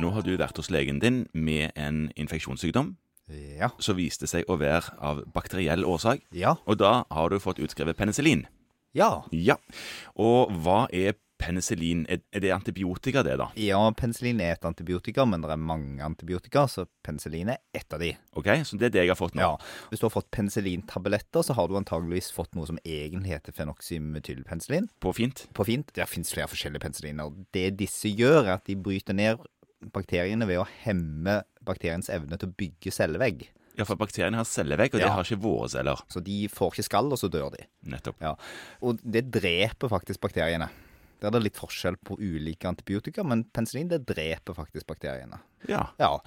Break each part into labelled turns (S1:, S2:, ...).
S1: Nå har du vært hos legen din med en infeksjonssykdom
S2: Ja.
S1: som viste seg å være av bakteriell årsak,
S2: Ja.
S1: og da har du fått utskrevet penicillin.
S2: Ja.
S1: Ja. Og hva er penicillin? Er er det antibiotika, det, da?
S2: Ja, penicillin er et antibiotika, men det er mange antibiotika, så penicillin er ett av de.
S1: Ok, Så det er det jeg har fått nå?
S2: Ja. Hvis du har fått penicillintabletter, så har du antageligvis fått noe som egentlig heter fenoxymetylpenicillin.
S1: På fint?
S2: På fint, der finnes flere forskjellige penicilliner. og Det disse gjør, er at de bryter ned bakteriene ved å hemme bakteriens evne til å bygge cellevegg.
S1: Ja, for bakteriene har cellevegg, og det
S2: Ja.
S1: har ikke våre celler.
S2: Så de får ikke skall, og så dør de.
S1: Nettopp.
S2: Ja, og det dreper faktisk bakteriene. Der er det litt forskjell på ulike antibiotika, men penicillin det dreper faktisk bakteriene.
S1: Ja.
S2: Ja,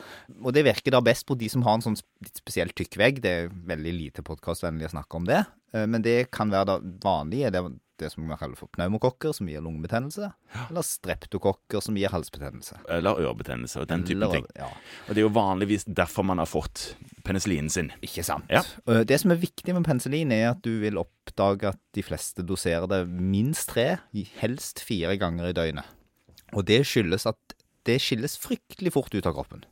S2: og det virker da best på de som har en sånn sp- litt spesiell tykk vegg. Det er veldig lite podkastvennlig å snakke om det, eh, men det kan være da vanlig er det, det som man kaller for pneumokokker, som gir lungebetennelse, eller streptokokker, som gir halsbetennelse.
S1: Eller ørebetennelse og den typen ting.
S2: Eller- Ja,
S1: Og det er jo vanligvis derfor man har fått penicillinen sin.
S2: ikke sant.
S1: Ja.
S2: Eh, Det som er viktig med penicillin, er at du vil oppdage at de fleste doserer det minst tre, helst fire ganger i døgnet. Og det skyldes at det skilles fryktelig fort ut av kroppen.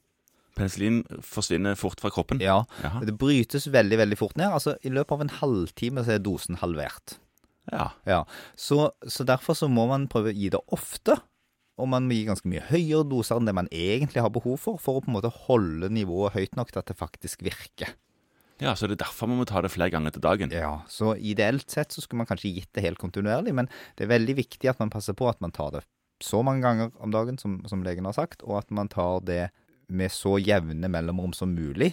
S1: Penicillin forsvinner fort fra kroppen.
S2: Ja,
S1: Jaha.
S2: Det brytes veldig veldig fort ned. altså I løpet av en halvtime så er dosen halvert.
S1: Ja.
S2: Ja, Så, så derfor så må man prøve å gi det ofte. Og man må gi ganske mye høyere doser enn det man egentlig har behov for, for å på en måte holde nivået høyt nok til at det faktisk virker.
S1: ja, så det er derfor man må ta det flere ganger til dagen.
S2: Ja, Så ideelt sett så skulle man kanskje gitt det helt kontinuerlig, men det er veldig viktig at man passer på at man tar det så mange ganger om dagen, som, som legen har sagt, og at man tar det med så jevne mellomrom som mulig,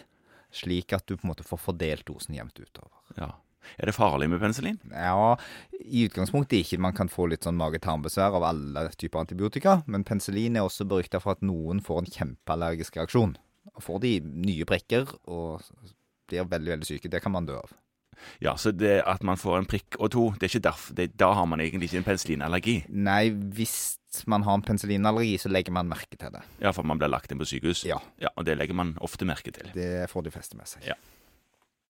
S2: slik at du på en måte får fordelt dosen jevnt utover.
S1: Ja. Er det farlig med penicillin?
S2: Ja, i utgangspunktet ikke. Man kan få litt sånn mage-tarmbesvær av alle typer antibiotika, men penicillin er også berykta for at noen får en kjempeallergisk reaksjon. Og får de nye prikker og blir veldig, veldig syke. Det kan man dø av.
S1: Ja, så det at man får en prikk og to, det er ikke derf det, da har man egentlig ikke en penicillinallergi.
S2: Nei, hvis man har en penicillinallergi, så legger man merke til det.
S1: Ja, for man blir lagt inn på sykehus.
S2: Ja,
S1: Ja, og det legger man ofte merke til.
S2: det får de fleste med seg.
S1: Ja.